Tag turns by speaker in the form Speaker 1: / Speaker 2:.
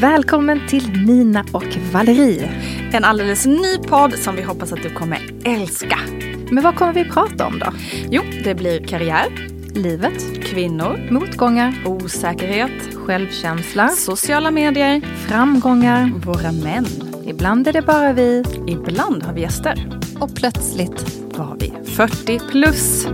Speaker 1: Välkommen till Nina och Valerie.
Speaker 2: En alldeles ny podd som vi hoppas att du kommer älska.
Speaker 1: Men vad kommer vi prata om då?
Speaker 2: Jo, det blir karriär,
Speaker 1: Livet,
Speaker 2: kvinnor,
Speaker 1: motgångar,
Speaker 2: osäkerhet,
Speaker 1: självkänsla,
Speaker 2: sociala medier,
Speaker 1: framgångar.
Speaker 2: våra män.
Speaker 1: Ibland är det bara vi.
Speaker 2: Ibland har vi gäster.
Speaker 1: Och plötsligt.
Speaker 2: Vad har vi? 40 plus.